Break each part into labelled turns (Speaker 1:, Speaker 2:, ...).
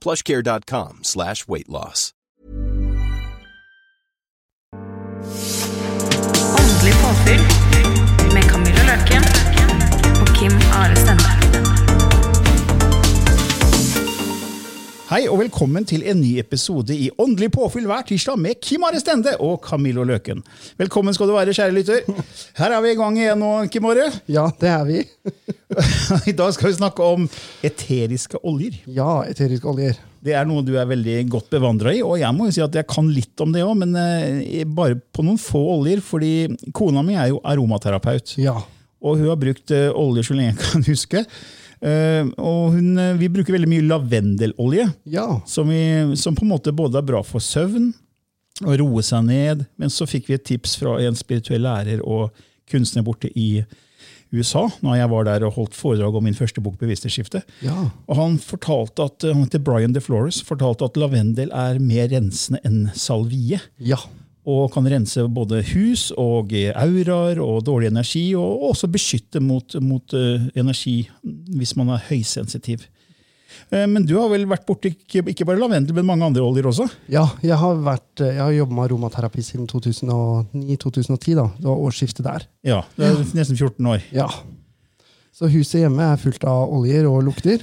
Speaker 1: plushcare.com slash weight loss.
Speaker 2: Åndelig påfyll med Camilla Løken og Kim Are Stende.
Speaker 3: Hei og velkommen til en ny episode i Åndelig påfyll hver tirsdag med Kim Are Stende og Camillo Løken. Velkommen skal du være, kjære lytter. Her er vi i gang igjen nå, Kim Are.
Speaker 4: Ja, det er vi.
Speaker 3: I dag skal vi snakke om eteriske oljer.
Speaker 4: Ja, eteriske oljer.
Speaker 3: Det er noe du er veldig godt bevandra i, og jeg må jo si at jeg kan litt om det òg, men eh, bare på noen få oljer, fordi kona mi er jo aromaterapeut.
Speaker 4: Ja.
Speaker 3: Og hun har brukt eh, oljer så lenge jeg kan huske. Eh, Og hun, eh, vi bruker veldig mye lavendelolje.
Speaker 4: Ja.
Speaker 3: som, vi, som på en måte både er bra for søvn og roe seg ned. Men så fikk vi et tips fra en spirituell lærer og kunstner borte i USA, når jeg var der og holdt foredrag om min første bok, 'Bevissthetsskifte'.
Speaker 4: Ja.
Speaker 3: Og han fortalte at, han heter Brian DeFlores fortalte at lavendel er mer rensende enn salvie.
Speaker 4: Ja.
Speaker 3: Og kan rense både hus og auraer og dårlig energi, og også beskytte mot, mot eh, energi hvis man er høysensitiv. Eh, Men du har vel vært borti ikke ikke bare lavendel, men mange andre oljer også?
Speaker 4: ja jeg har, vært- eh, jeg har jobba med aromaterapi siden 2009-2010. da. Det var årsskiftet der.
Speaker 3: Ja, det er nesten 14 år.
Speaker 4: Ja. Så huset hjemme er fullt av oljer og lukter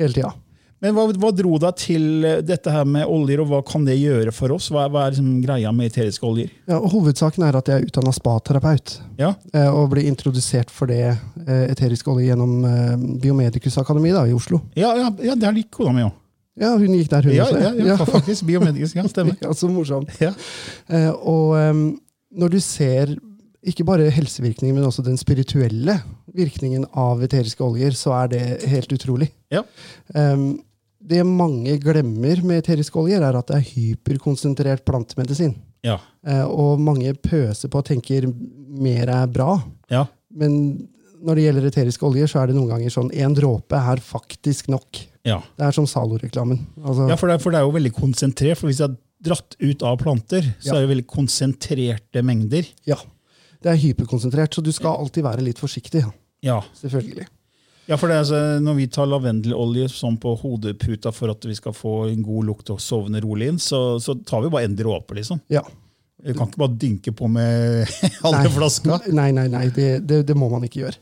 Speaker 4: hele tida.
Speaker 3: Men hva, hva dro deg til eh, dette her med oljer, og hva kan det gjøre for oss? Hva, er- hva er liksom greia med eteriske oljer?
Speaker 4: Ja, og hovedsaken er at jeg er utdanna spaterapeut.
Speaker 3: Ja,
Speaker 4: eh, Og ble introdusert for det eh, eteriske olje gjennom eh, Biomedicus Akademi da, i Oslo.
Speaker 3: ja, ja, ja der gikk kona mi òg.
Speaker 4: Ja, hun gikk der, hun
Speaker 3: Ja,
Speaker 4: også.
Speaker 3: ja, ja, faktisk. Biomedisk, ja, stemmer.
Speaker 4: ja, så morsomt.
Speaker 3: Ja.
Speaker 4: Eh, og em, når du ser ikke bare helsevirkningen, men også den spirituelle virkningen av eteriske oljer, så er det helt utrolig.
Speaker 3: Ja.
Speaker 4: Em, det mange glemmer med eteriske oljer, er at det er hyperkonsentrert plantemedisin.
Speaker 3: Ja.
Speaker 4: Eh, og mange pøser på og tenker mer er bra.
Speaker 3: ja.
Speaker 4: Men når det gjelder eteriske oljer, så er det noen ganger sånn én dråpe er faktisk nok.
Speaker 3: ja.
Speaker 4: Det er som Zalo-reklamen. Altså,
Speaker 3: Ja, for det, er- for det er jo veldig konsentrert. For hvis jeg har dratt ut av planter, så
Speaker 4: Ja.
Speaker 3: er det veldig konsentrerte mengder.
Speaker 4: Ja. Det er hyperkonsentrert, så du skal alltid være litt forsiktig.
Speaker 3: Ja,
Speaker 4: Selvfølgelig.
Speaker 3: ja for det er altså, Når vi tar lavendelolje sånn på hodeputa for at vi skal få en god lukt og sovne rolig inn, så, så tar vi bare en dråpe. liksom.
Speaker 4: Ja.
Speaker 3: Vi kan ikke bare dynke på med halve
Speaker 4: Nei.
Speaker 3: flaska.
Speaker 4: Nei, nei, nei. Det, det, det må man ikke gjøre.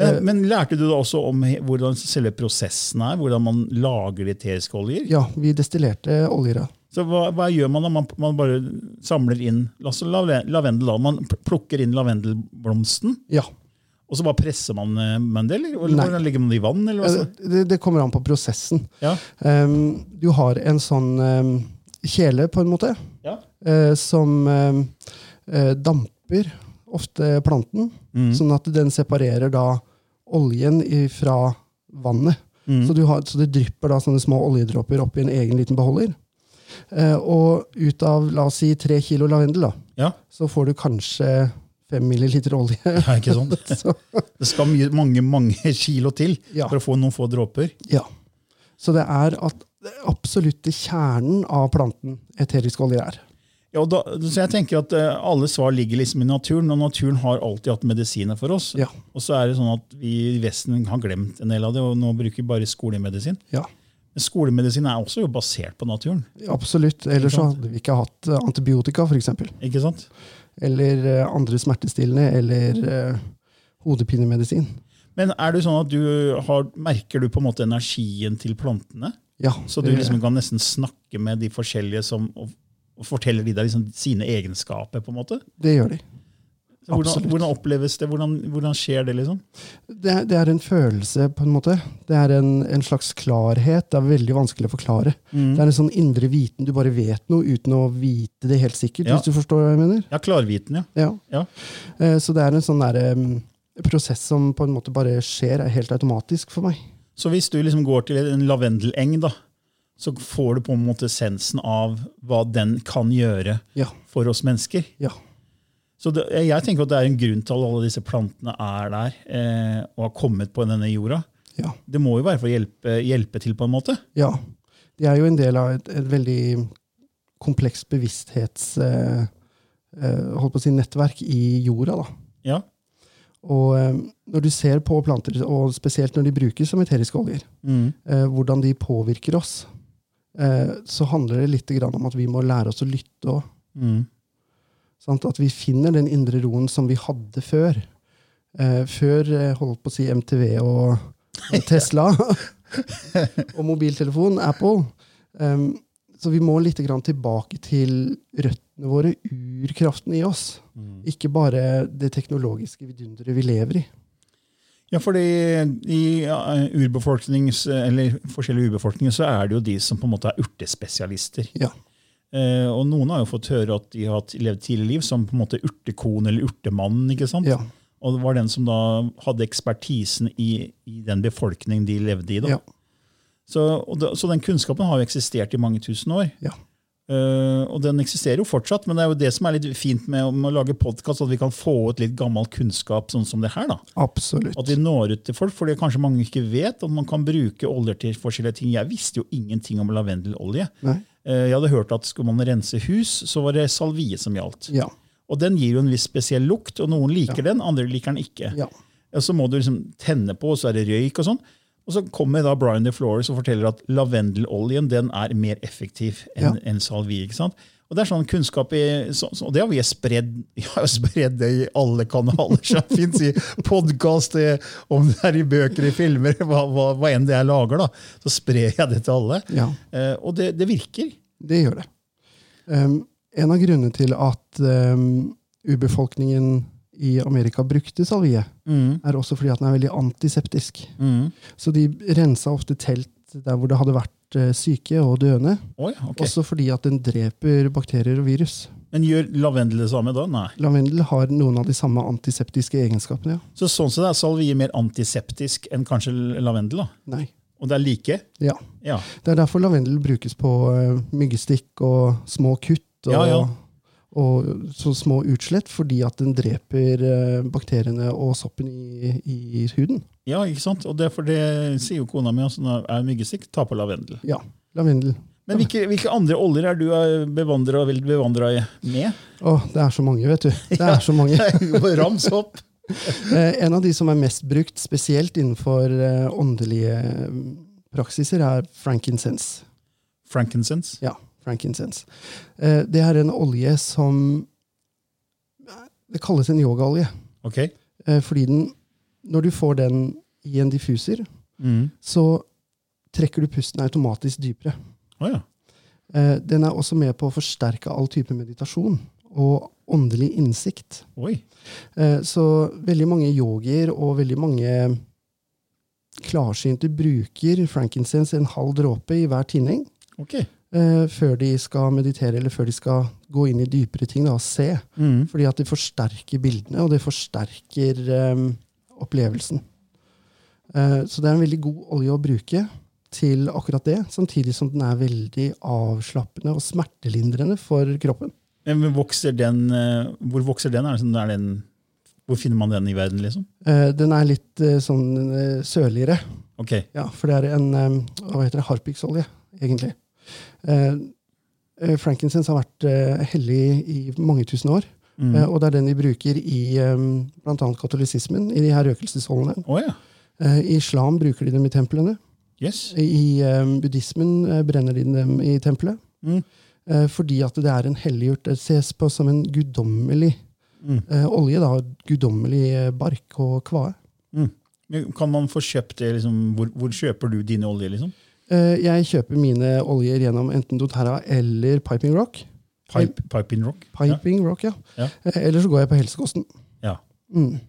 Speaker 3: Men, men lærte du da også om he- hvordan selve prosessen er? Hvordan man lager de eteriske oljer?
Speaker 4: Ja, vi destillerte oljer. da.
Speaker 3: Så hva, hva gjør man da? Man, man bare samler inn altså lave- lavendel. da. Man pl- plukker inn lavendelblomsten.
Speaker 4: Ja. og
Speaker 3: Og så bare presser man eh, med det, eller? eller
Speaker 4: Nei. Altså,
Speaker 3: hvordan legger man det i vann? eller hva
Speaker 4: Det,
Speaker 3: så?
Speaker 4: Eh, det- det kommer an på prosessen.
Speaker 3: Altså- Ja.
Speaker 4: Ehm, du har en sånn ehm, kjele, på en måte,
Speaker 3: Ja.
Speaker 4: eh, som ehm, eh, damper ofte planten.
Speaker 3: Mm.
Speaker 4: Sånn at den separerer da oljen i- fra vannet.
Speaker 3: Mm.
Speaker 4: Så, du har, så det drypper da sånne små oljedråper oppi en egen liten beholder. Eh, og ut av la oss si tre kilo lavendel, da,
Speaker 3: ja.
Speaker 4: så får du kanskje fem milliliter olje.
Speaker 3: ja ikke sånn.
Speaker 4: Så,
Speaker 3: Det skal mye, mange mange kilo til
Speaker 4: Ja.
Speaker 3: for å få noen få dråper.
Speaker 4: ja. så det er at det absolutte kjernen av planten eterisk olje er.
Speaker 3: Ja, og da, så jeg tenker at eh, Alle svar ligger liksom i naturen, og naturen har alltid hatt medisiner for oss.
Speaker 4: Ja.
Speaker 3: Og så er det sånn at vi i Vesten har glemt en del av det, og nå bruker vi bare skolemedisin.
Speaker 4: Ja,
Speaker 3: Men skolemedisin er også jo basert på naturen.
Speaker 4: absolutt. Ellers så
Speaker 3: sant?
Speaker 4: hadde vi ikke hatt eh, antibiotika, f.eks.
Speaker 3: ikke sant?
Speaker 4: Eller eh, andre smertestillende, eller eh, hodepinemedisin.
Speaker 3: Men er det sånn at du har, merker du på en måte energien til plantene?
Speaker 4: Ja,
Speaker 3: Så du
Speaker 4: det-
Speaker 3: liksom kan nesten snakke med de forskjellige som, og, og forteller de deg liksom sine egenskaper, på en måte?
Speaker 4: det gjør de.
Speaker 3: Hvordan,
Speaker 4: Absolutt.
Speaker 3: hvordan oppleves det? Hvordan, hvordan skjer det, liksom?
Speaker 4: Det, er- det er en følelse, på en måte. Det er en, en slags klarhet. Det er veldig vanskelig å forklare.
Speaker 3: Mm.
Speaker 4: Det er en sånn indre viten. Du bare vet noe uten å vite det helt sikkert,
Speaker 3: Ja.
Speaker 4: hvis du forstår hva jeg mener.
Speaker 3: Ja, klarviten, ja.
Speaker 4: Ja.
Speaker 3: Ja.
Speaker 4: Eh, Så det er en sånn der, em, prosess som på en måte bare skjer er helt automatisk for meg.
Speaker 3: Så hvis du liksom går til en lavendeleng, da, så får du på en måte sensen av hva den kan gjøre
Speaker 4: Ja.
Speaker 3: for oss mennesker.
Speaker 4: ja.
Speaker 3: Så det, jeg tenker at det er en grunn til at alle disse plantene er der eh, og har kommet på denne jorda.
Speaker 4: Ja.
Speaker 3: Det må jo være for å hjelpe, hjelpe til, på en måte.
Speaker 4: ja. De er jo en del av et, et veldig komplekst bevissthets... Eh, eh, holdt på å si nettverk i jorda, da.
Speaker 3: Ja.
Speaker 4: Og eh, når du ser på planter, og spesielt når de brukes som eteriske oljer,
Speaker 3: Mm.
Speaker 4: eh, hvordan de påvirker oss, eh, så handler det litt grann om at vi må lære oss å lytte òg.
Speaker 3: Mm.
Speaker 4: Sant? At vi finner den indre roen som vi hadde før. Eh, før eh, holdt på å si MTV og og Tesla og mobiltelefon, Apple. Em, så vi må litt grann tilbake til røttene våre, urkraften i oss.
Speaker 3: Mm.
Speaker 4: Ikke bare det teknologiske vidunderet vi lever i.
Speaker 3: Ja, fordi i ja, urbefolknings, eller forskjellige urbefolkninger så er det jo de som på en måte er urtespesialister.
Speaker 4: Ja.
Speaker 3: Eh, og noen har jo fått høre at de har hatt- levd tidlig liv som på en måte urtekone eller urtemannen. ikke sant?
Speaker 4: Ja.
Speaker 3: Og det var den som da hadde ekspertisen i, i den befolkningen de levde i. da.
Speaker 4: Ja.
Speaker 3: Så, og da, så den kunnskapen har jo eksistert i mange tusen år.
Speaker 4: Ja.
Speaker 3: Eh, og den eksisterer jo fortsatt, men det er jo det som er litt fint med, å- med å lage podkast, at vi kan få ut litt gammel kunnskap sånn som det her. da.
Speaker 4: Absolutt.
Speaker 3: At vi når ut til folk, fordi kanskje mange ikke vet at man kan bruke oljer til forskjellige ting. Jeg visste jo ingenting om lavendelolje.
Speaker 4: Nei.
Speaker 3: Eh, Jeg hadde hørt at skulle man rense hus, så var det salvie som gjaldt.
Speaker 4: Ja.
Speaker 3: Og den gir jo en viss spesiell lukt, og noen liker den, andre liker den ikke.
Speaker 4: ja.
Speaker 3: Og så må du liksom tenne på, og så er det røyk og sånn. Og så kommer da Brian DeFlores og forteller at lavendeloljen den er mer effektiv enn enn salvie. ikke sant? Og det er sånn kunnskap i, så, så, og det har vi spredd vi har jo spredd det i alle kanaler som fins, i podkast, om det er i bøker, i filmer, hva, hva, hva enn det jeg lager. da, Så sprer jeg det til alle.
Speaker 4: Ja.
Speaker 3: Eh, og det, det virker.
Speaker 4: Det gjør det. Em, en av grunnene til at em, urbefolkningen i Amerika brukte salvie, er også fordi at den er veldig antiseptisk.
Speaker 3: Mm.
Speaker 4: Så de rensa ofte telt der hvor det hadde vært eh, syke og døende.
Speaker 3: Oi, ok.
Speaker 4: Også fordi at den dreper bakterier og virus.
Speaker 3: Men gjør lavendel det samme da? Nei.
Speaker 4: Lavendel har noen av de samme antiseptiske egenskapene. ja.
Speaker 3: Så sånn sett er salvie mer antiseptisk enn kanskje lavendel? da.
Speaker 4: Nei.
Speaker 3: Og det er like?
Speaker 4: Ja.
Speaker 3: Ja.
Speaker 4: Det er derfor lavendel brukes på eh, myggstikk og små kutt og,
Speaker 3: Ja, ja.
Speaker 4: og så små utslett, fordi at den dreper eh, bakteriene og soppen i, i huden.
Speaker 3: Ja, ikke sant? Og det, for det sier jo kona mi også, når jeg er myggestikk, ta på lavendel.
Speaker 4: Ja, lavendel.
Speaker 3: Men hvilke, hvilke andre oljer er du eh, bevandret og vel bevandret med?
Speaker 4: Å, det er så mange, vet du. Det er så mange.
Speaker 3: Rams opp!
Speaker 4: Eh, en av de som er mest brukt, spesielt innenfor eh, åndelige mm, praksiser, er frankincense.
Speaker 3: Frankincense.
Speaker 4: Ja, frankincense. Eh, det er en olje som eh, Det kalles en yogaolje.
Speaker 3: Ok.
Speaker 4: Eh, fordi den, når du får den i en diffuser,
Speaker 3: Mm.
Speaker 4: så trekker du pusten automatisk dypere.
Speaker 3: Å ja.
Speaker 4: Eh, Den er også med på å forsterke all type meditasjon og åndelig innsikt.
Speaker 3: Oi.
Speaker 4: Eh, Så veldig mange yogier og veldig mange klarsynte bruker frankincense en halv dråpe i hver tinning
Speaker 3: Ok.
Speaker 4: eh, før de skal meditere eller før de skal gå inn i dypere ting da, og se.
Speaker 3: Mm.
Speaker 4: Fordi at det forsterker bildene, og det forsterker eh, opplevelsen. Eh, så det er en veldig god olje å bruke til akkurat det, samtidig som den er veldig avslappende og smertelindrende for kroppen.
Speaker 3: Men hvor vokser den, eh, hvor vokser den? Er det sånn, er den? Hvor finner man den i verden, liksom?
Speaker 4: Eh, den er litt eh, sånn eh, sørligere,
Speaker 3: Ok.
Speaker 4: ja, for det er en eh, hva heter det, harpiksolje, egentlig. Eh, eh, frankincense har vært eh, hellig i mange tusen år,
Speaker 3: Mm.
Speaker 4: eh, og det er den de bruker i eh, bl.a. katolisismen, i de her røkelsesolene.
Speaker 3: Å ja.
Speaker 4: Eh, I islam bruker de dem i templene.
Speaker 3: Yes.
Speaker 4: I eh, buddhismen eh, brenner de dem i tempelet.
Speaker 3: Mm.
Speaker 4: Eh, fordi at det er en helliggjort Det ses på som en guddommelig
Speaker 3: Mm.
Speaker 4: eh, olje. da, Guddommelig eh, bark og kvae.
Speaker 3: Mm. Men Kan man få kjøpt det, liksom? Hvor, hvor kjøper du dine oljer, liksom?
Speaker 4: Eh, jeg kjøper mine oljer gjennom enten doTERRA eller Piping Rock.
Speaker 3: Pipe, pipe in rock?
Speaker 4: Piping Rock, ja.
Speaker 3: Ja.
Speaker 4: Eh, eller så går jeg på helsekosten.
Speaker 3: Ja.
Speaker 4: Mm.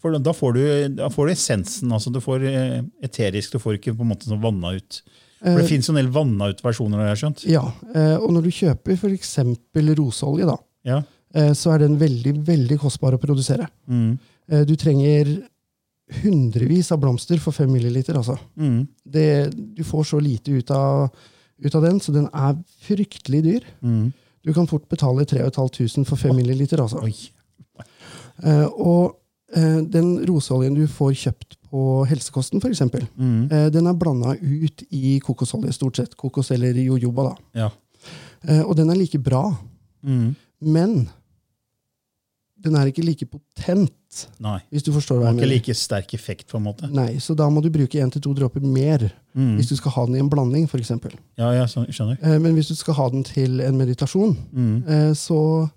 Speaker 3: For da- da får du, da får du essensen. altså Du får eh, eterisk, du får ikke på en måte sånn vanna ut. For
Speaker 4: Eh,
Speaker 3: Det fins en del vanna ut versjoner, har jeg skjønt.
Speaker 4: ja, eh, og når du kjøper f.eks. roseolje, da,
Speaker 3: Ja.
Speaker 4: eh, så er den veldig, veldig kostbar å produsere.
Speaker 3: Mm.
Speaker 4: Eh, du trenger hundrevis av blomster for fem milliliter, altså.
Speaker 3: Mm.
Speaker 4: det, du får så lite ut av, ut av den, så den er fryktelig dyr.
Speaker 3: Mm.
Speaker 4: Du kan fort betale 3500 for 5 milliliter. Altså.
Speaker 3: Oi.
Speaker 4: Eh, og eh, den roseoljen du får kjøpt på Helsekosten, for eksempel,
Speaker 3: Mm.
Speaker 4: eh, den er blanda ut i kokosolje, stort sett. Kokos eller jojoba, da.
Speaker 3: Ja.
Speaker 4: Eh, og den er like bra,
Speaker 3: Mm.
Speaker 4: men den er ikke like potent,
Speaker 3: Nei.
Speaker 4: hvis du forstår
Speaker 3: Det
Speaker 4: hva
Speaker 3: har
Speaker 4: jeg
Speaker 3: ikke
Speaker 4: mener.
Speaker 3: like sterk effekt, på en måte.
Speaker 4: Nei, så da må du bruke én til to dråper mer
Speaker 3: Mm.
Speaker 4: hvis du skal ha den i en blanding, for eksempel.
Speaker 3: Ja, ja, skjø- skjønner.
Speaker 4: Eh, Men hvis du skal ha den til en meditasjon,
Speaker 3: Mm.
Speaker 4: eh, så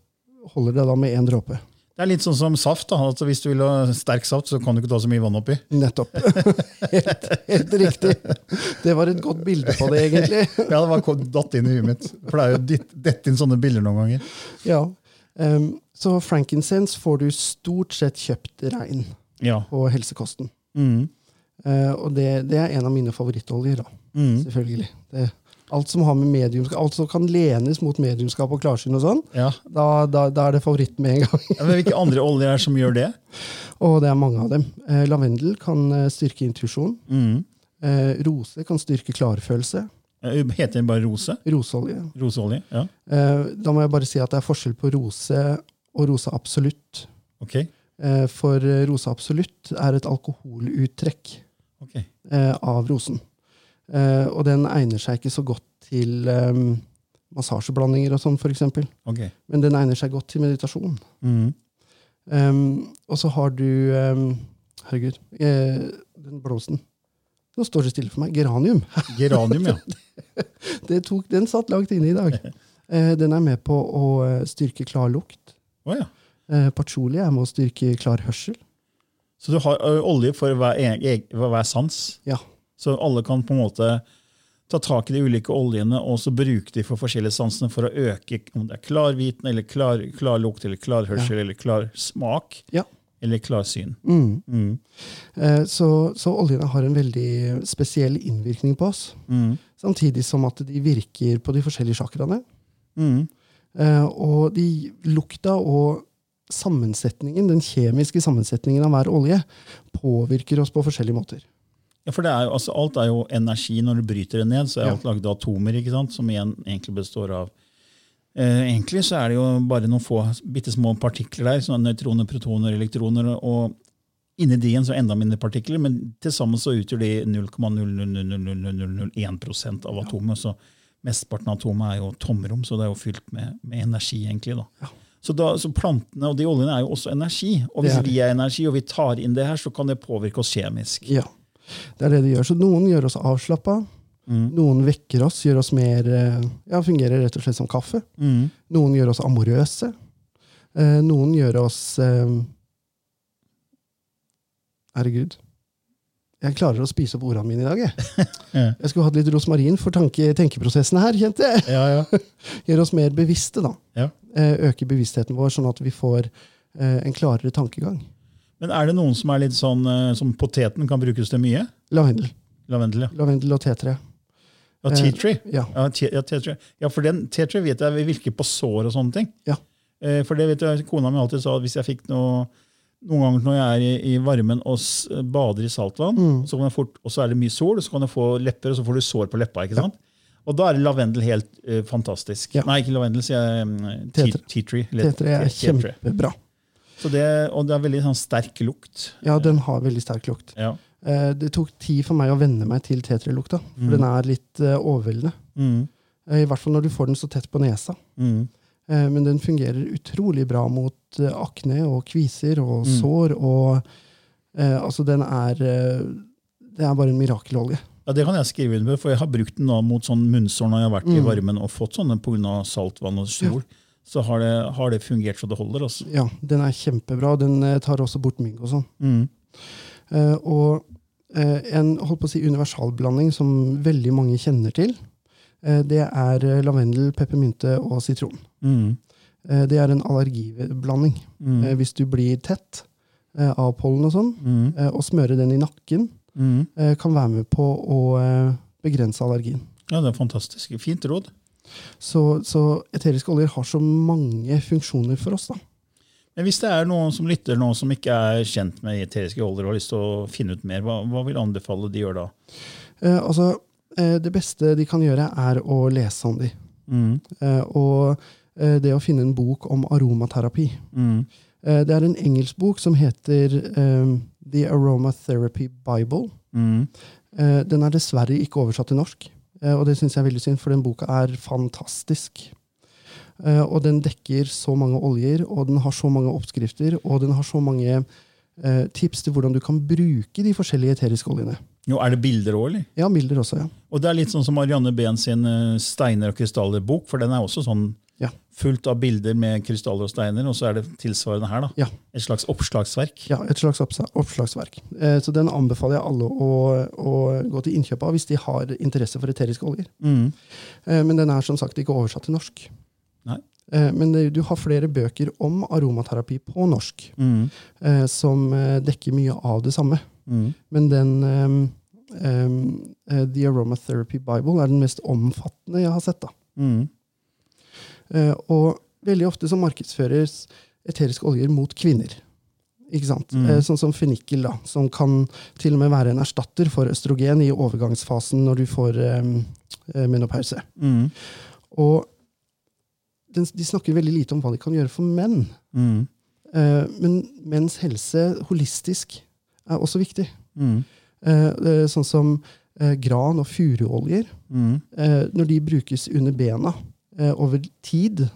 Speaker 4: holder det da med én dråpe.
Speaker 3: Det er litt sånn som saft. da, altså Hvis du vil ha sterk saft, så kan du ikke ta så mye vann oppi.
Speaker 4: Nettopp. Helt, helt riktig. Det var et godt bilde på det, egentlig.
Speaker 3: Ja, det var ko- datt inn i huet mitt. For det er jo ditt, dett inn sånne bilder noen ganger.
Speaker 4: Ja. Em, Så frankincense får du stort sett kjøpt rein
Speaker 3: Ja.
Speaker 4: på helsekosten.
Speaker 3: Mm.
Speaker 4: Eh, Og det, det er en av mine favorittoljer, da.
Speaker 3: Mm.
Speaker 4: Selvfølgelig. Det, alt som har med mediumskap, alt som kan lenes mot mediumskap og klarsyn og sånn,
Speaker 3: Ja.
Speaker 4: da, da, da er det favoritt med en gang.
Speaker 3: Ja, Men hvilke andre oljer er det som gjør det?
Speaker 4: Og det er mange av dem. Eh, Lavendel kan eh, styrke intuisjon.
Speaker 3: Mm.
Speaker 4: Eh, rose kan styrke klarfølelse.
Speaker 3: Eh, Heter den bare rose?
Speaker 4: Roseolje.
Speaker 3: Roseolje? Ja.
Speaker 4: Eh, da må jeg bare si at det er forskjell på rose og rose absolutt.
Speaker 3: Ok.
Speaker 4: Eh, for rose absolutt er et alkoholuttrekk
Speaker 3: ok.
Speaker 4: eh, av rosen. Eh, og den egner seg ikke så godt til eh, massasjeblandinger og sånn, for eksempel.
Speaker 3: ok.
Speaker 4: Men den egner seg godt til meditasjon.
Speaker 3: Mm.
Speaker 4: Em, Ehm, og så har du em, Herregud, eh, den blomsten. Nå står det stille for meg. Geranium.
Speaker 3: Geranium, ja.
Speaker 4: Det tok, den satt langt inne i dag. Eh, den er med på å eh, styrke klar lukt.
Speaker 3: Å ja.
Speaker 4: Eh, patchouli er med å styrke klar hørsel.
Speaker 3: Så du har ø, olje for hver, e- e- for hver sans?
Speaker 4: Ja.
Speaker 3: Så alle kan på en måte ta tak i de ulike oljene og så bruke de for forskjellige sansene for å øke om det er klarviten, eller klar, klarlukt, eller klarhørsel, eller klarsmak,
Speaker 4: Ja.
Speaker 3: eller klarsyn.
Speaker 4: Mm.
Speaker 3: Mm.
Speaker 4: Eh, så, så oljene har en veldig spesiell innvirkning på oss.
Speaker 3: Mm.
Speaker 4: Samtidig som at de virker på de forskjellige chakraene.
Speaker 3: Mm.
Speaker 4: Eh, og de lukta og sammensetningen, den kjemiske sammensetningen av hver olje påvirker oss på forskjellige måter.
Speaker 3: Ja, for det er jo, altså, Alt er jo energi når du bryter det ned. Så er
Speaker 4: Ja.
Speaker 3: alt laget av atomer, ikke sant? som igjen egentlig består av eh, Egentlig så er det jo bare noen få bitte små partikler der. sånn Nøytroner, protoner, elektroner. og Inni de igjen så er enda mindre partikler, men til sammen så utgjør de 0,0000001 av atomet. Så mesteparten av atomet er jo tomrom, så det er jo fylt med, med energi. egentlig da. Så, da, så plantene og de oljene er jo også energi. Og
Speaker 4: Det
Speaker 3: hvis
Speaker 4: er det.
Speaker 3: vi er energi, og vi tar inn det her, så kan det påvirke oss kjemisk.
Speaker 4: Ja, det er det de gjør. Så noen gjør oss avslappa. Noen vekker oss, gjør oss mer eh, Ja, fungerer rett og slett som kaffe.
Speaker 3: Mm.
Speaker 4: Noen gjør oss amorøse. Eh, noen gjør oss eh, Herregud. Jeg klarer å spise opp ordene mine i dag. Jeg,
Speaker 3: Ja.
Speaker 4: jeg skulle hatt litt rosmarin for tanke, tenkeprosessen her. kjente jeg.
Speaker 3: Ja, ja.
Speaker 4: Gjør oss mer bevisste, da.
Speaker 3: Ja.
Speaker 4: Eh, øker bevisstheten vår, sånn at vi får eh, en klarere tankegang.
Speaker 3: Men er det noen som er litt sånn eh, som poteten kan brukes til mye?
Speaker 4: Lavendel,
Speaker 3: Lavendel, ja.
Speaker 4: Lavendel og tetre.
Speaker 3: Ja, tea tree.
Speaker 4: Ja.
Speaker 3: Ja, te, ja, tea tree. ja for den tea tree vet jeg virker på sår og sånne ting.
Speaker 4: Ja.
Speaker 3: Eh, For det vet jeg, kona mi alltid sa at hvis jeg fikk noe noen ganger når jeg er i, i varmen og s- bader i saltvann, så kan jeg fort, og så er det mye sol, så kan du få lepper, og så får du sår på leppa. ikke sant? Og da er lavendel helt eh, fantastisk.
Speaker 4: Ja.
Speaker 3: Nei, ikke lavendel, sier jeg. mm, tea-
Speaker 4: Tetre.
Speaker 3: Tea tree. eller
Speaker 4: Tetre er
Speaker 3: te- tea tree.
Speaker 4: kjempebra.
Speaker 3: Så det, og det er veldig sånn sterk lukt.
Speaker 4: Ja, den har veldig sterk lukt.
Speaker 3: Ja.
Speaker 4: Eh, det tok tid for meg å venne meg til tetrelukta, for den er litt eh, overveldende.
Speaker 3: Mm,
Speaker 4: Eh, I hvert fall når du får den så tett på nesa.
Speaker 3: mm,
Speaker 4: Eh, Men den fungerer utrolig bra mot eh, akne og kviser og sår. Og eh, altså, den er eh, Det er bare en mirakelolje.
Speaker 3: Ja, Det kan jeg skrive under på, for jeg har brukt den da mot sånn munnsår når jeg har vært i varmen og fått sånne pga. saltvann og sol. Så har det, har det fungert så det holder. altså.
Speaker 4: Ja, den er kjempebra. og Den eh, tar også bort mygg og sånn.
Speaker 3: Mm.
Speaker 4: Eh, Og eh, en holdt på å si, universalblanding som veldig mange kjenner til, eh, det er eh, lavendel, peppermynte og sitron.
Speaker 3: Mm.
Speaker 4: Eh, Det er en allergiblanding.
Speaker 3: Mm.
Speaker 4: Eh, Hvis du blir tett, eh, av pollen og sånn,
Speaker 3: Mm.
Speaker 4: eh, og smøre den i nakken,
Speaker 3: Mm.
Speaker 4: eh, kan være med på å eh, begrense allergien.
Speaker 3: Ja, det er fantastisk. Fint råd.
Speaker 4: Så, så eteriske oljer har så mange funksjoner for oss. da.
Speaker 3: Men hvis det er noen som lytter nå som ikke er kjent med eteriske oljer og har lyst til å finne ut mer, hva, hva vil du anbefale de gjør da?
Speaker 4: Eh, altså, eh, det beste de kan gjøre, er å lese om de.
Speaker 3: Mm.
Speaker 4: Eh, og eh, det å finne en bok om aromaterapi.
Speaker 3: Mm.
Speaker 4: Eh, det er en engelsk bok som heter eh, The Aromatherapy Bible.
Speaker 3: Mm.
Speaker 4: Eh, den er dessverre ikke oversatt til norsk, eh, og det syns jeg er veldig synd, for den boka er fantastisk. Eh, og den dekker så mange oljer, og den har så mange oppskrifter, og den har så mange eh, tips til hvordan du kan bruke de forskjellige eteriske oljene.
Speaker 3: Jo, er det bilder òg, eller?
Speaker 4: Ja, milder også, ja.
Speaker 3: Og det er litt sånn som Marianne Behn sin eh, Steiner og krystaller-bok, for den er også sånn
Speaker 4: Ja.
Speaker 3: fullt av bilder med krystaller og steiner, og så er det tilsvarende her, da.
Speaker 4: Ja.
Speaker 3: Et slags oppslagsverk.
Speaker 4: Ja, Et slags oppsa- oppslagsverk. Eh, Så Den anbefaler jeg alle å, å gå til innkjøp av hvis de har interesse for eteriske oljer.
Speaker 3: Mm.
Speaker 4: Eh, Men den er som sagt ikke oversatt til norsk.
Speaker 3: Nei.
Speaker 4: Eh, Men det- du har flere bøker om aromaterapi på norsk
Speaker 3: Mm.
Speaker 4: eh, som eh, dekker mye av det samme.
Speaker 3: Mm.
Speaker 4: Men den ehm, ehm, eh, The Aromatherapy Bible er den mest omfattende jeg har sett. da.
Speaker 3: Mm.
Speaker 4: Eh, Og veldig ofte så markedsføres eteriske oljer mot kvinner. Ikke sant?
Speaker 3: Mm.
Speaker 4: Eh, Sånn som fennikel, da, som kan til og med være en erstatter for østrogen i overgangsfasen når du får ehm, eh, menopause.
Speaker 3: Mm.
Speaker 4: Og den, de snakker veldig lite om hva de kan gjøre for menn.
Speaker 3: Mm.
Speaker 4: Eh, Men menns helse holistisk er også viktig.
Speaker 3: Mm.
Speaker 4: Eh, eh, Sånn som eh, gran og furuoljer.
Speaker 3: Mm.
Speaker 4: Eh, når de brukes under bena eh, over tid,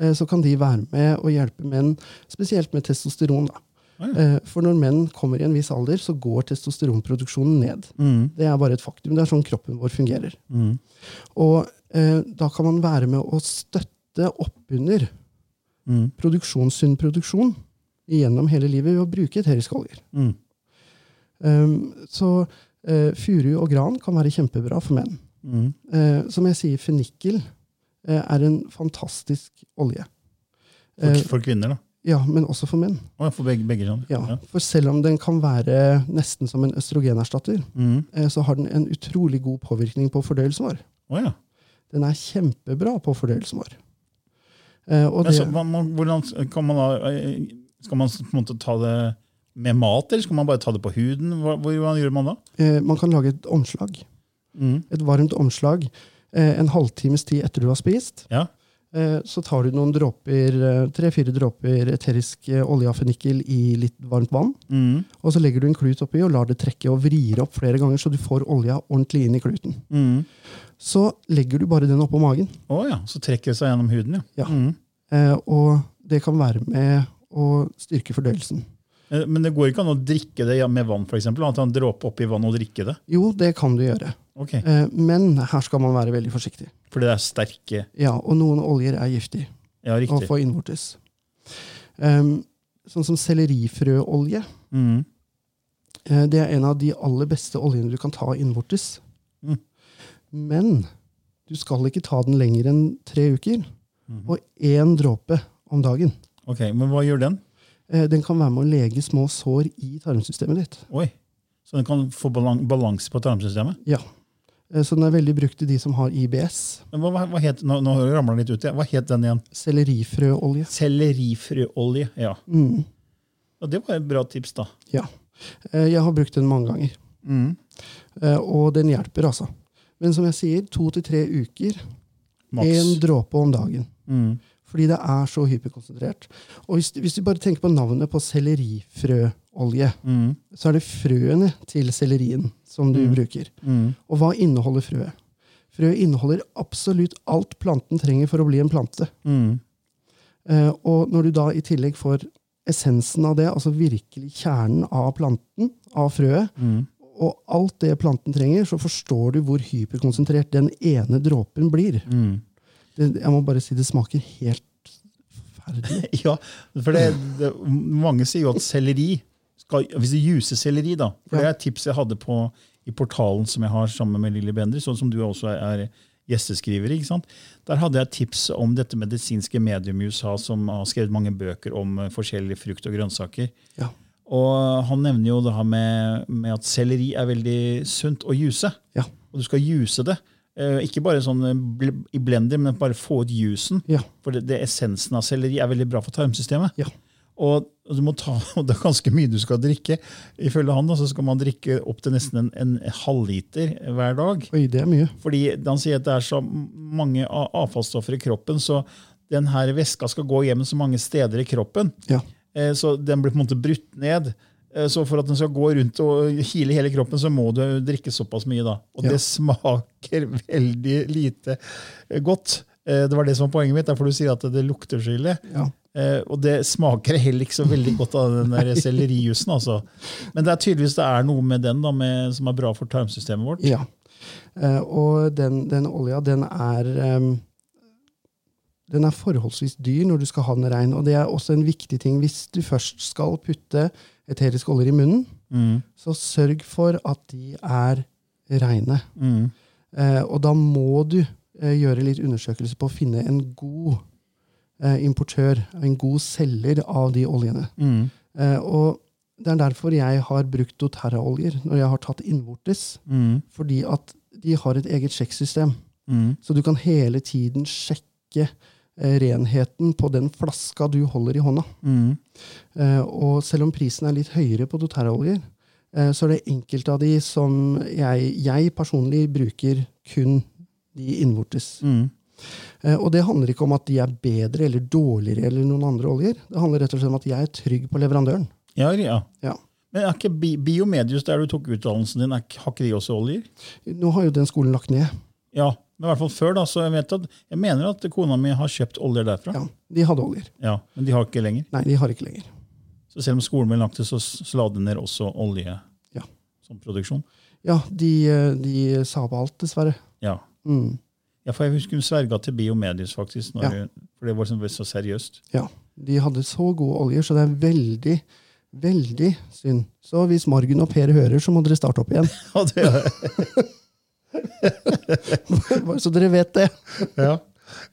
Speaker 4: eh, så kan de være med og hjelpe menn, spesielt med testosteron. Da.
Speaker 3: Ah, ja.
Speaker 4: Eh, for når menn kommer i en viss alder, så går testosteronproduksjonen ned.
Speaker 3: Mm.
Speaker 4: Det er bare et faktum. Det er sånn kroppen vår fungerer.
Speaker 3: Mm.
Speaker 4: Og eh, da kan man være med å støtte oppunder
Speaker 3: Mm.
Speaker 4: produksjonssunn produksjon gjennom hele livet ved å bruke eteriske oljer.
Speaker 3: Mm.
Speaker 4: Um, så eh, furu og gran kan være kjempebra for menn.
Speaker 3: Mm.
Speaker 4: Eh, som jeg sier, fennikel eh, er en fantastisk olje. Eh,
Speaker 3: For, for kvinner, da.
Speaker 4: ja, men også for menn.
Speaker 3: Å, ja, for begge, begge kjønn.
Speaker 4: Ja, For selv om den kan være nesten som en østrogenerstatter,
Speaker 3: Mm.
Speaker 4: eh, så har den en utrolig god påvirkning på fordøyelsen vår.
Speaker 3: Å, ja.
Speaker 4: Den er kjempebra på fordøyelsen vår. Eh, og
Speaker 3: Men
Speaker 4: det,
Speaker 3: så, hva- man, hvordan kan man da eh, Skal man på en måte ta det med mat, eller skal man bare ta det på huden? Hva, hvordan gjør man da?
Speaker 4: eh, man kan lage et omslag.
Speaker 3: Mm.
Speaker 4: Et varmt omslag eh, en halvtimes tid etter du har spist.
Speaker 3: Ja.
Speaker 4: Eh, så tar du noen dråper, eh, tre-fire dråper eterisk eh, olje av fennikel i litt varmt vann.
Speaker 3: Mm.
Speaker 4: Og så legger du en klut oppi og lar det trekke og vrier opp flere ganger, så du får olja ordentlig inn i kluten.
Speaker 3: Mm.
Speaker 4: Så legger du bare den oppå magen,
Speaker 3: Å ja, så trekker det seg gjennom huden, ja.
Speaker 4: Ja.
Speaker 3: Mm.
Speaker 4: eh, og det kan være med å styrke fordøyelsen.
Speaker 3: Eh, Men det går ikke an å drikke det med vann, f.eks.? At han dråper oppi vann og drikker det?
Speaker 4: Jo, det kan du gjøre,
Speaker 3: Ok,
Speaker 4: eh, men her skal man være veldig forsiktig.
Speaker 3: Fordi det er sterke
Speaker 4: Ja, og noen oljer er giftige
Speaker 3: Ja,
Speaker 4: å
Speaker 3: riktig.
Speaker 4: få innvortes. Ehm, sånn som sellerifrøolje.
Speaker 3: Mm.
Speaker 4: Eh, Det er en av de aller beste oljene du kan ta innvortes.
Speaker 3: Mm.
Speaker 4: Men du skal ikke ta den lenger enn tre uker.
Speaker 3: Mhm.
Speaker 4: Og én dråpe om dagen.
Speaker 3: Ok, Men hva gjør den?
Speaker 4: Eh, Den kan være med å lege små sår i tarmsystemet ditt.
Speaker 3: Oi. Så den kan få balan balanse på tarmsystemet?
Speaker 4: Ja. Eh, Så den er veldig brukt til de som har IBS.
Speaker 3: Men Hva, hva, hva het, nå, nå ramler den litt ut. Ja. Hva het den igjen?
Speaker 4: Sellerifrøolje.
Speaker 3: Sellerifrøolje. Ja.
Speaker 4: Mm.
Speaker 3: Og det var et bra tips, da.
Speaker 4: Ja. Eh, Jeg har brukt den mange ganger,
Speaker 3: Mm.
Speaker 4: Eh, og den hjelper, altså. Men som jeg sier, to til tre uker. Én
Speaker 3: Maks.
Speaker 4: dråpe om dagen.
Speaker 3: Mm.
Speaker 4: Fordi det er så hyperkonsentrert. Og hvis, hvis du bare tenker på navnet på sellerifrøolje,
Speaker 3: Mm.
Speaker 4: så er det frøene til sellerien som du
Speaker 3: Mm.
Speaker 4: bruker.
Speaker 3: Mm.
Speaker 4: Og hva inneholder frøet? Frø inneholder absolutt alt planten trenger for å bli en plante.
Speaker 3: Mm.
Speaker 4: Eh, og når du da i tillegg får essensen av det, altså virkelig kjernen av planten, av frøet,
Speaker 3: Mm.
Speaker 4: og alt det planten trenger, så forstår du hvor hyperkonsentrert den ene dråpen blir.
Speaker 3: Mm.
Speaker 4: Det, jeg må bare si det smaker helt forferdelig.
Speaker 3: Ja, for det, det, mange sier jo at selleri skal, Hvis du juser selleri, da for Det
Speaker 4: Ja.
Speaker 3: er et tips jeg hadde på, i portalen som jeg har sammen med Lilly Bender, sånn som du også er, er gjesteskriver. ikke sant? Der hadde jeg tips om dette medisinske medium i USA, som har skrevet mange bøker om eh, forskjellige frukt og grønnsaker.
Speaker 4: Ja.
Speaker 3: Og han nevner jo det her med, med at selleri er veldig sunt å juse.
Speaker 4: Ja.
Speaker 3: Og du skal juse det. Eh, Ikke bare sånn eh, bl- i blender, men bare få ut jusen.
Speaker 4: Ja.
Speaker 3: For det, det essensen av selleri er veldig bra for tarmsystemet.
Speaker 4: Ja.
Speaker 3: Og, og du må ta, og det er ganske mye du skal drikke. Ifølge han da, så skal man drikke opp til nesten en, en halvliter hver dag.
Speaker 4: Oi, det er mye.
Speaker 3: Fordi han sier at det er så mange a- avfallsstoffer i kroppen, så den her væska skal gå hjem så mange steder i kroppen.
Speaker 4: Ja.
Speaker 3: Eh, Så den blir på en måte brutt ned. Eh, Så for at den skal gå rundt og hile hele kroppen, så må du drikke såpass mye. da. Og
Speaker 4: Ja.
Speaker 3: det smaker veldig lite eh, godt. Eh, Det var det som var poenget mitt, derfor du sier at det lukter så ille.
Speaker 4: ja.
Speaker 3: Eh, og det smaker heller ikke så veldig godt av den der sellerijusen. altså. Men det er tydeligvis det er noe med den da, med, som er bra for tarmsystemet vårt.
Speaker 4: Ja. Eh, og den, den olja, den er em, Den er forholdsvis dyr når du skal ha den rein. Og det er også en viktig ting hvis du først skal putte eteriske oljer i munnen,
Speaker 3: Mm,
Speaker 4: så sørg for at de er reine.
Speaker 3: mm,
Speaker 4: Eh, og da må du eh, gjøre litt undersøkelse på å finne en god eh, importør, en god selger av de oljene.
Speaker 3: mm,
Speaker 4: Eh, og det er derfor jeg har brukt doTERRA-oljer når jeg har tatt innvortes.
Speaker 3: mm,
Speaker 4: Fordi at de har et eget sjekksystem.
Speaker 3: mm.
Speaker 4: Så du kan hele tiden sjekke eh, renheten på den flaska du holder i hånda.
Speaker 3: Mm.
Speaker 4: Eh, og selv om prisen er litt høyere på doTERRA-oljer, eh, så er det enkelte av de som jeg, jeg personlig bruker kun de innvortes.
Speaker 3: Mm.
Speaker 4: Eh, Og det handler ikke om at de er bedre eller dårligere eller noen andre oljer. Det handler rett og slett om at jeg er trygg på leverandøren.
Speaker 3: Ja, ja.
Speaker 4: Ja.
Speaker 3: Men er ikke Bi- Biomedius, der du tok utdannelsen din, er, ikke- har ikke de også oljer?
Speaker 4: Nå har jo den skolen lagt ned.
Speaker 3: Ja, men i hvert fall før, da. Så jeg, vet at, jeg mener at kona mi har kjøpt oljer derfra. Ja.
Speaker 4: Ja, De hadde oljer.
Speaker 3: Men de har ikke lenger.
Speaker 4: Nei, de har ikke lenger.
Speaker 3: Så selv om skolen ble lagt til, så sla det ned også olje
Speaker 4: Ja.
Speaker 3: som produksjon.
Speaker 4: Ja, De, eh, de sa opp alt, dessverre.
Speaker 3: Ja.
Speaker 4: Mm.
Speaker 3: ja, for jeg husker hun sverga til Biomedius, faktisk. Når
Speaker 4: Ja.
Speaker 3: hun- for det var liksom så seriøst.
Speaker 4: Ja, De hadde så gode oljer, så det er veldig, veldig synd. Så hvis Margunn og Per hører, så må dere starte opp igjen.
Speaker 3: Ja, det,
Speaker 4: Bare så dere vet det.
Speaker 3: ja.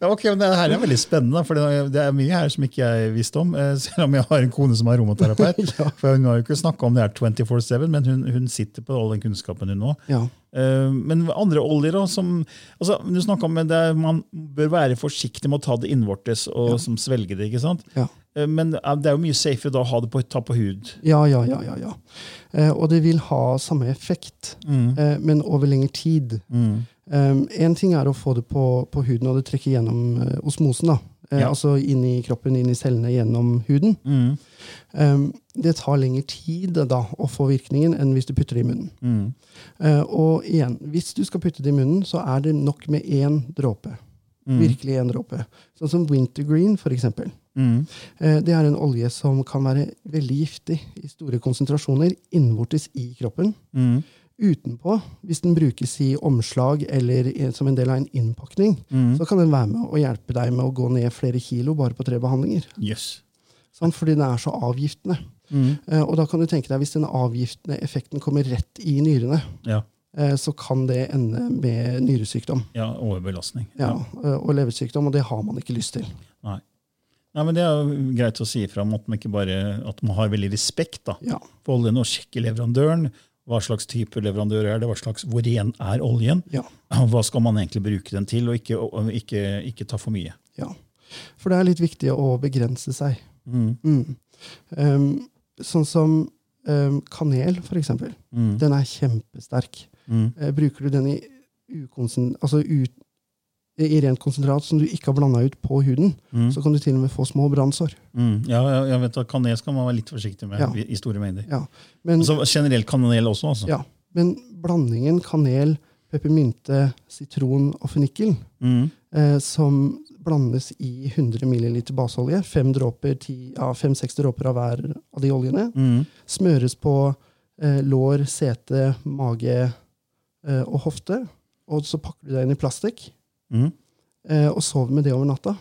Speaker 3: Ja, ok, men Det her er veldig spennende, da, for det er- det er mye her som ikke jeg visste om. eh, Selv om jeg har en kone som er romoterapeut.
Speaker 4: Ja.
Speaker 3: For Hun har jo ikke snakka om det her 24-7, men hun, hun sitter på all den kunnskapen hun nå.
Speaker 4: Ja,
Speaker 3: Eh, Men andre oljer da, som altså, Du snakka om det, man bør være forsiktig med å ta det innvortes og som svelge det. ikke sant?
Speaker 4: ja.
Speaker 3: Eh, Men eh, det er jo mye safere da å ha det på, ta på hud.
Speaker 4: Ja, ja, ja, ja, ja. Eh, og det vil ha samme effekt,
Speaker 3: Mm.
Speaker 4: eh, men over lengre tid. Um, en ting er å få det på, på huden, og det trekker gjennom eh, osmosen. da. Eh,
Speaker 3: Ja.
Speaker 4: Altså inn i kroppen, inn i cellene, gjennom huden.
Speaker 3: Mm.
Speaker 4: Um, det tar lengre tid da, å få virkningen enn hvis du putter det i munnen.
Speaker 3: Mm.
Speaker 4: Eh, og igjen, hvis du skal putte det i munnen, så er det nok med én dråpe. Virkelig én dråpe. Sånn som wintergreen, for eksempel.
Speaker 3: Mm.
Speaker 4: Eh, det er en olje som kan være veldig giftig i store konsentrasjoner innvortes i kroppen
Speaker 3: Mm.
Speaker 4: utenpå, hvis den brukes i omslag eller i- som en del av en innpakning, så kan den være med og hjelpe deg med å gå ned flere kilo bare på tre behandlinger.
Speaker 3: Yes.
Speaker 4: Sant? Fordi den er så avgiftende. Eh, og da kan du tenke deg, hvis den avgiftende effekten kommer rett i nyrene,
Speaker 3: Ja.
Speaker 4: eh, så kan det ende med nyresykdom.
Speaker 3: ja. Overbelastning.
Speaker 4: Ja, eh, og leversykdom, og det har man ikke lyst til.
Speaker 3: Nei. Nei, men Det er jo greit å si ifra om at man ikke bare, at man har veldig respekt da,
Speaker 4: Ja.
Speaker 3: for oljen, og sjekker leverandøren. Hva slags type leverandør er det? hva slags, Hvor ren er oljen?
Speaker 4: Ja.
Speaker 3: Og Hva skal man egentlig bruke den til, og ikke, og ikke, ikke ta for mye?
Speaker 4: Ja. For det er litt viktig å begrense seg. Mm. Ehm, sånn som ehm, kanel, for eksempel.
Speaker 3: Mm.
Speaker 4: Den er kjempesterk. Eh, bruker du den i, ukonsen- altså ut, i rent konsentrat som du ikke har blanda ut på huden, så kan du til og med få små brannsår.
Speaker 3: Mm. Ja, ja, jeg vet at Kanel skal man være litt forsiktig med
Speaker 4: Ja.
Speaker 3: i- i store mengder.
Speaker 4: Ja. Men,
Speaker 3: Så generelt kanel også, altså.
Speaker 4: ja. Men blandingen kanel, peppermynte, sitron og fennikel,
Speaker 3: Mm.
Speaker 4: eh, som blandes i 100 ml baseolje. Fem-seks dråper, ti- ja, fem, seks dråper av hver av de oljene.
Speaker 3: Mm.
Speaker 4: Smøres på eh, lår, sete, mage eh, og hofte. Og så pakker du deg inn i plastikk
Speaker 3: Mm.
Speaker 4: eh, og sover med det over natta.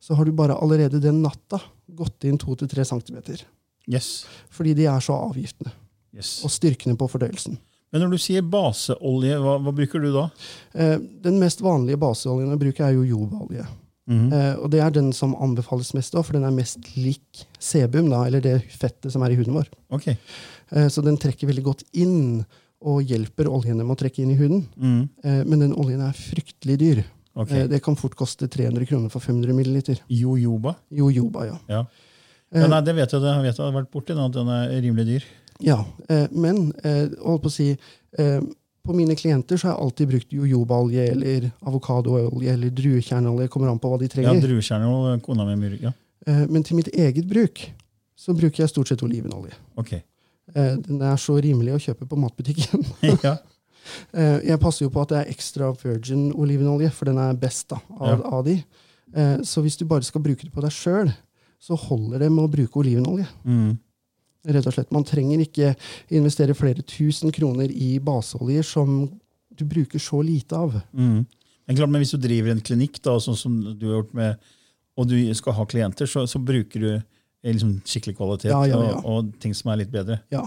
Speaker 4: Så har du bare allerede den natta gått inn 2-3 cm.
Speaker 3: Yes.
Speaker 4: Fordi de er så avgiftende.
Speaker 3: yes.
Speaker 4: Og styrkende på fordøyelsen.
Speaker 3: Men når du sier baseolje, hva, hva bruker du da?
Speaker 4: Eh, den mest vanlige baseoljen jeg bruker, er jo jobaolje.
Speaker 3: Mhm.
Speaker 4: Eh, og det er den som anbefales mest, også, for den er mest lik sebum, da, eller det fettet som er i huden vår.
Speaker 3: Ok.
Speaker 4: Eh, så den trekker veldig godt inn, og hjelper oljene med å trekke inn i huden.
Speaker 3: Mhm.
Speaker 4: Eh, men den oljen er fryktelig dyr.
Speaker 3: Ok.
Speaker 4: Eh, det kan fort koste 300 kroner for 500 milliliter.
Speaker 3: Jojoba.
Speaker 4: Jojoba, ja.
Speaker 3: Ja.
Speaker 4: Eh,
Speaker 3: ja. Nei, det vet jeg det jeg vet jeg har vært borti, den, at den er rimelig dyr.
Speaker 4: Ja, eh, men eh, holdt på å si eh, På mine klienter så har jeg alltid brukt jojobaolje eller avokadoolje eller druekjerneolje. Kommer an på hva de
Speaker 3: Ja,
Speaker 4: trenger.
Speaker 3: Druekjerner og kona mi mur- Ja,
Speaker 4: eh, men til mitt eget bruk så bruker jeg stort sett olivenolje.
Speaker 3: ok.
Speaker 4: Eh, den er så rimelig å kjøpe på matbutikken.
Speaker 3: ja.
Speaker 4: eh, jeg passer jo på at det er extra virgin olivenolje, for den er best da, av, av de. Eh, så hvis du bare skal bruke det på deg sjøl, så holder det med å bruke olivenolje.
Speaker 3: Mhm.
Speaker 4: Rett og slett. Man trenger ikke investere flere tusen kroner i baseoljer som du bruker så lite av.
Speaker 3: Mhm. Men klart, men hvis du driver en klinikk, da, sånn som du har gjort med, og du skal ha klienter, så, så bruker du eh, liksom, skikkelig kvalitet
Speaker 4: Ja, ja, ja.
Speaker 3: Og, og ting som er litt bedre.
Speaker 4: Ja.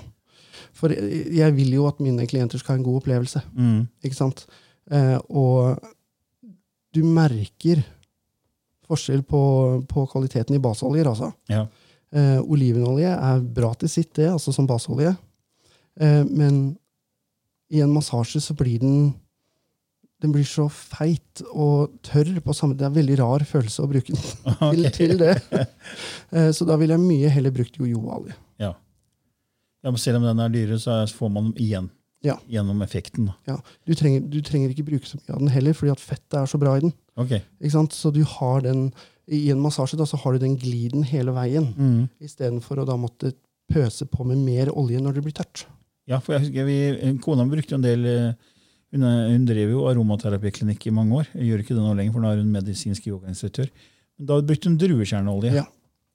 Speaker 4: For eh, jeg vil jo at mine klienter skal ha en god opplevelse.
Speaker 3: Mhm.
Speaker 4: Ikke sant? Eh, og du merker forskjell på, på kvaliteten i baseoljer, altså.
Speaker 3: Ja.
Speaker 4: Eh, olivenolje er bra til sitt, det, altså som baseolje. Eh, men i en massasje så blir den den blir så feit og tørr på samme Det er en veldig rar følelse å bruke den til, til det. Eh, så da ville jeg mye heller brukt jojoolje.
Speaker 3: Ja. ja, men Selv om den er dyre, så er- får man igjen
Speaker 4: Ja.
Speaker 3: gjennom effekten. da.
Speaker 4: Ja. Du, trenger, du trenger ikke bruke så mye av den heller, fordi at fettet er så bra i den.
Speaker 3: Ok.
Speaker 4: Ikke sant? Så du har den, I en massasje da, så har du den gliden hele veien, istedenfor å da måtte pøse på med mer olje når det blir tørt.
Speaker 3: Ja, for jeg husker vi, Kona brukte en del eh, Hun, er- hun drev jo aromaterapiklinikk i mange år. Jeg gjør ikke det nå lenger, for nå er hun medisinsk yogainstruktør. Men Da brukte hun druekjerneolje,
Speaker 4: Ja.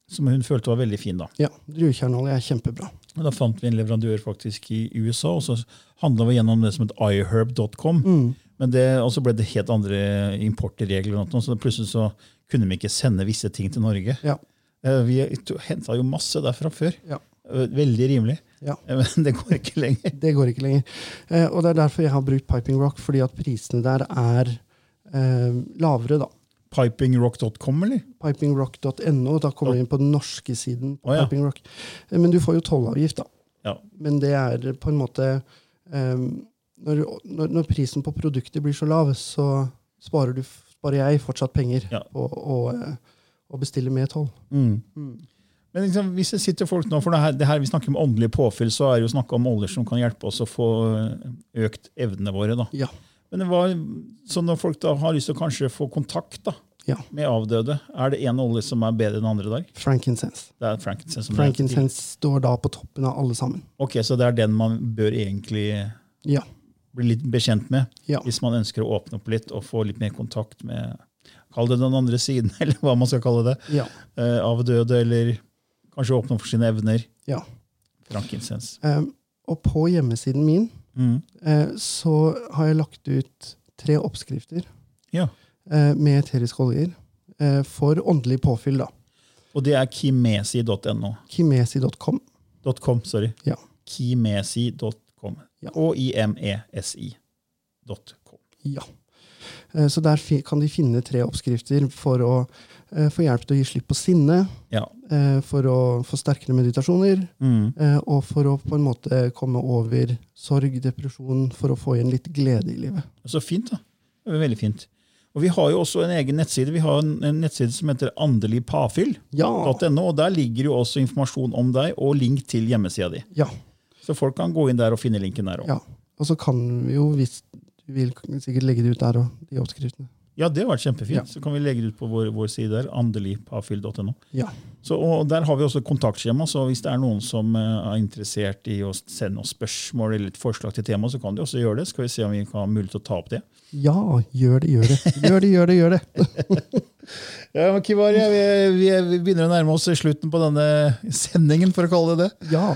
Speaker 3: som hun følte var veldig fin. da.
Speaker 4: Ja, Druekjerneolje er kjempebra.
Speaker 3: Og Da fant vi en leverandør faktisk i USA, og så handla vi gjennom det som het iherb.com.
Speaker 4: Mm.
Speaker 3: Men det, og så ble det helt andre importregler, og noe, så plutselig så kunne vi ikke sende visse ting til Norge.
Speaker 4: Ja.
Speaker 3: Eh, Vi henta jo masse derfra før.
Speaker 4: Ja.
Speaker 3: Eh, Veldig rimelig.
Speaker 4: Ja.
Speaker 3: Eh, Men det går ikke lenger.
Speaker 4: Det går ikke lenger. Eh, og det er derfor jeg har brukt Piping Rock, fordi at prisene der er eh, lavere, da.
Speaker 3: Pipingrock.com, eller?
Speaker 4: Pipingrock.no, da kommer du inn på den norske siden. på
Speaker 3: Å, ja.
Speaker 4: Piping Rock. Eh, Men du får jo tollavgift, da.
Speaker 3: Ja.
Speaker 4: Men det er på en måte eh, når, når, når prisen på produktet blir så lav, så sparer, du, sparer jeg fortsatt penger
Speaker 3: Ja.
Speaker 4: på å, eh, å bestille med toll.
Speaker 3: Mm. Men liksom, hvis det sitter folk nå, for det her, det her vi snakker om åndelig påfyll, så er det jo snakk om oljer som kan hjelpe oss å få eh, økt evnene våre. da.
Speaker 4: Ja.
Speaker 3: Men det var, så når folk da har lyst til å kanskje få kontakt da,
Speaker 4: ja.
Speaker 3: med avdøde, er det én olje som er bedre enn andre der?
Speaker 4: Frankincense.
Speaker 3: Det er frankincense. som det heter.
Speaker 4: Frankincense står da på toppen av alle sammen.
Speaker 3: Ok, Så det er den man bør egentlig
Speaker 4: Ja.
Speaker 3: bli litt bekjent med,
Speaker 4: Ja.
Speaker 3: hvis man ønsker å åpne opp litt og få litt mer kontakt med Kall det den andre siden, eller hva man skal kalle det.
Speaker 4: Ja.
Speaker 3: eh, Avdøde, eller kanskje åpne opp for sine evner.
Speaker 4: ja.
Speaker 3: Frankincense.
Speaker 4: Eh, og på hjemmesiden min
Speaker 3: Mm.
Speaker 4: eh, så har jeg lagt ut tre oppskrifter
Speaker 3: Ja.
Speaker 4: eh, med eteriske oljer eh, for åndelig påfyll. da.
Speaker 3: Og det er kimesi.no.
Speaker 4: Kimesi.com.
Speaker 3: Dot .com, sorry.
Speaker 4: Ja.
Speaker 3: Kimesi.com.
Speaker 4: Ja.
Speaker 3: Og i-m-e-s-i. E Dot .com.
Speaker 4: Ja. Eh, Så der fi- kan de finne tre oppskrifter for å eh, få hjelp til å gi slipp på sinne,
Speaker 3: Ja.
Speaker 4: eh, for å få sterkere meditasjoner,
Speaker 3: Mm.
Speaker 4: eh, og for å på en måte komme over sorg, depresjon, for å få igjen litt glede i livet.
Speaker 3: Så fint, da. Det var Veldig fint. Og Vi har jo også en egen nettside. Vi har en, en nettside som heter andeligpåfyll.no.
Speaker 4: Ja!
Speaker 3: og Der ligger jo også informasjon om deg og link til hjemmesida di.
Speaker 4: ja,
Speaker 3: Så folk kan gå inn der og finne linken der òg. Ja.
Speaker 4: ja. Og så kan vi jo, hvis du vil, sikkert legge det ut der òg, de oppskriftene.
Speaker 3: det har vært kjempefint.
Speaker 4: Ja.
Speaker 3: Så kan vi legge det ut på vår, vår side der. Andeligpåfyll.no.
Speaker 4: Ja.
Speaker 3: Så, og Der har vi også et kontaktskjema, så hvis det er noen som eh, er interessert i å sende oss spørsmål eller et forslag til tema, så kan de også gjøre det. Skal vi se om vi kan ha mulighet til å ta opp det.
Speaker 4: Ja, gjør det, gjør det. Gjør det, gjør det, gjør det.
Speaker 3: Ja, men Kivari, vi, vi, vi begynner å nærme oss slutten på denne sendingen, for å kalle det det.
Speaker 4: Ja.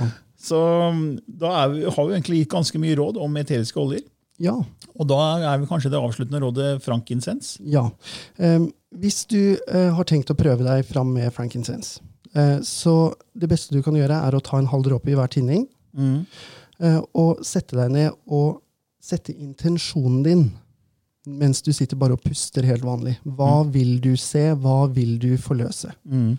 Speaker 3: Så mm, da er vi, har vi egentlig gitt ganske mye råd om eteriske oljer.
Speaker 4: Ja.
Speaker 3: Og da er vi kanskje det avsluttende rådet frankinsens.
Speaker 4: Ja. Em, hvis du eh, har tenkt å prøve deg fram med frankincense, eh, så det beste du kan gjøre, er å ta en halv dråpe i hver tinning
Speaker 3: Mm,
Speaker 4: eh, og sette deg ned og sette intensjonen din mens du sitter bare og puster helt vanlig. Hva vil du se? Hva vil du forløse?
Speaker 3: Mm.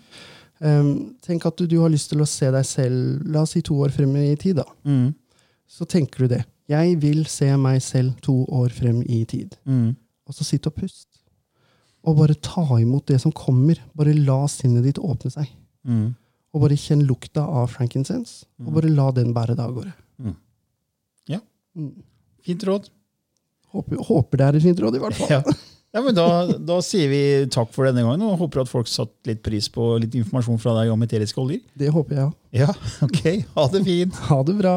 Speaker 4: Ehm, tenk at du, du har lyst til å se deg selv la oss si to år frem i tid. da.
Speaker 3: Mm.
Speaker 4: Så tenker du det. Jeg vil se meg selv to år frem i tid.
Speaker 3: Mm.
Speaker 4: Og så sitt og pust. Og bare ta imot det som kommer. Bare la sinnet ditt åpne seg.
Speaker 3: Mm.
Speaker 4: Og bare kjenn lukta av frankincense, og bare la den bære deg av gårde.
Speaker 3: Mm. Ja.
Speaker 4: Mm.
Speaker 3: Fint råd.
Speaker 4: Håper, håper det er et fint råd, i hvert fall.
Speaker 3: Ja. Ja, men da, da sier vi takk for denne gangen, og håper at folk satte litt pris på litt informasjon fra deg om eteriske oljer.
Speaker 4: Det håper jeg òg.
Speaker 3: Ja, ok. Ha det fint.
Speaker 4: Ha det bra.